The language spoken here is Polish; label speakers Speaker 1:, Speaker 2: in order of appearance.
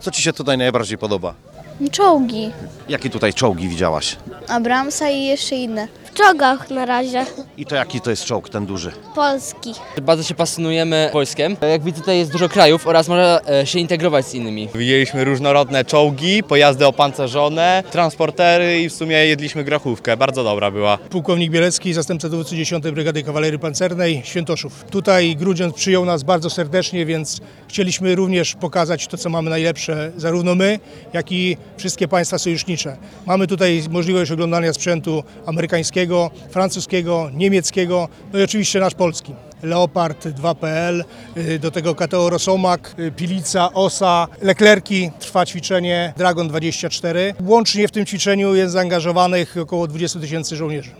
Speaker 1: Co Ci się tutaj najbardziej podoba?
Speaker 2: Czołgi.
Speaker 1: Jakie tutaj czołgi widziałaś?
Speaker 2: Abramsa i jeszcze inne. W czołgach na razie.
Speaker 1: I to jaki to jest czołg, ten duży?
Speaker 2: Polski.
Speaker 3: Bardzo się pasjonujemy wojskiem. E, Jak widzę, tutaj jest dużo krajów oraz można e, się integrować z innymi.
Speaker 4: Widzieliśmy różnorodne czołgi, pojazdy opancerzone, transportery i w sumie jedliśmy grochówkę. Bardzo dobra była.
Speaker 5: Pułkownik Bielecki, zastępca dowódcy 10 Brygady Kawalerii Pancernej Świętoszów. Tutaj Grudziądz przyjął nas bardzo serdecznie, więc chcieliśmy również pokazać to, co mamy najlepsze, zarówno my, jak i wszystkie państwa sojusznicze. Mamy tutaj możliwość oglądania sprzętu amerykańskiego, francuskiego, niemieckiego, no i oczywiście nasz polski. Leopard 2.pl, y, do tego KTO Rosomak, y, Pilica, Osa, Leklerki, trwa ćwiczenie Dragon 24. Łącznie w tym ćwiczeniu jest zaangażowanych około 20 tysięcy żołnierzy.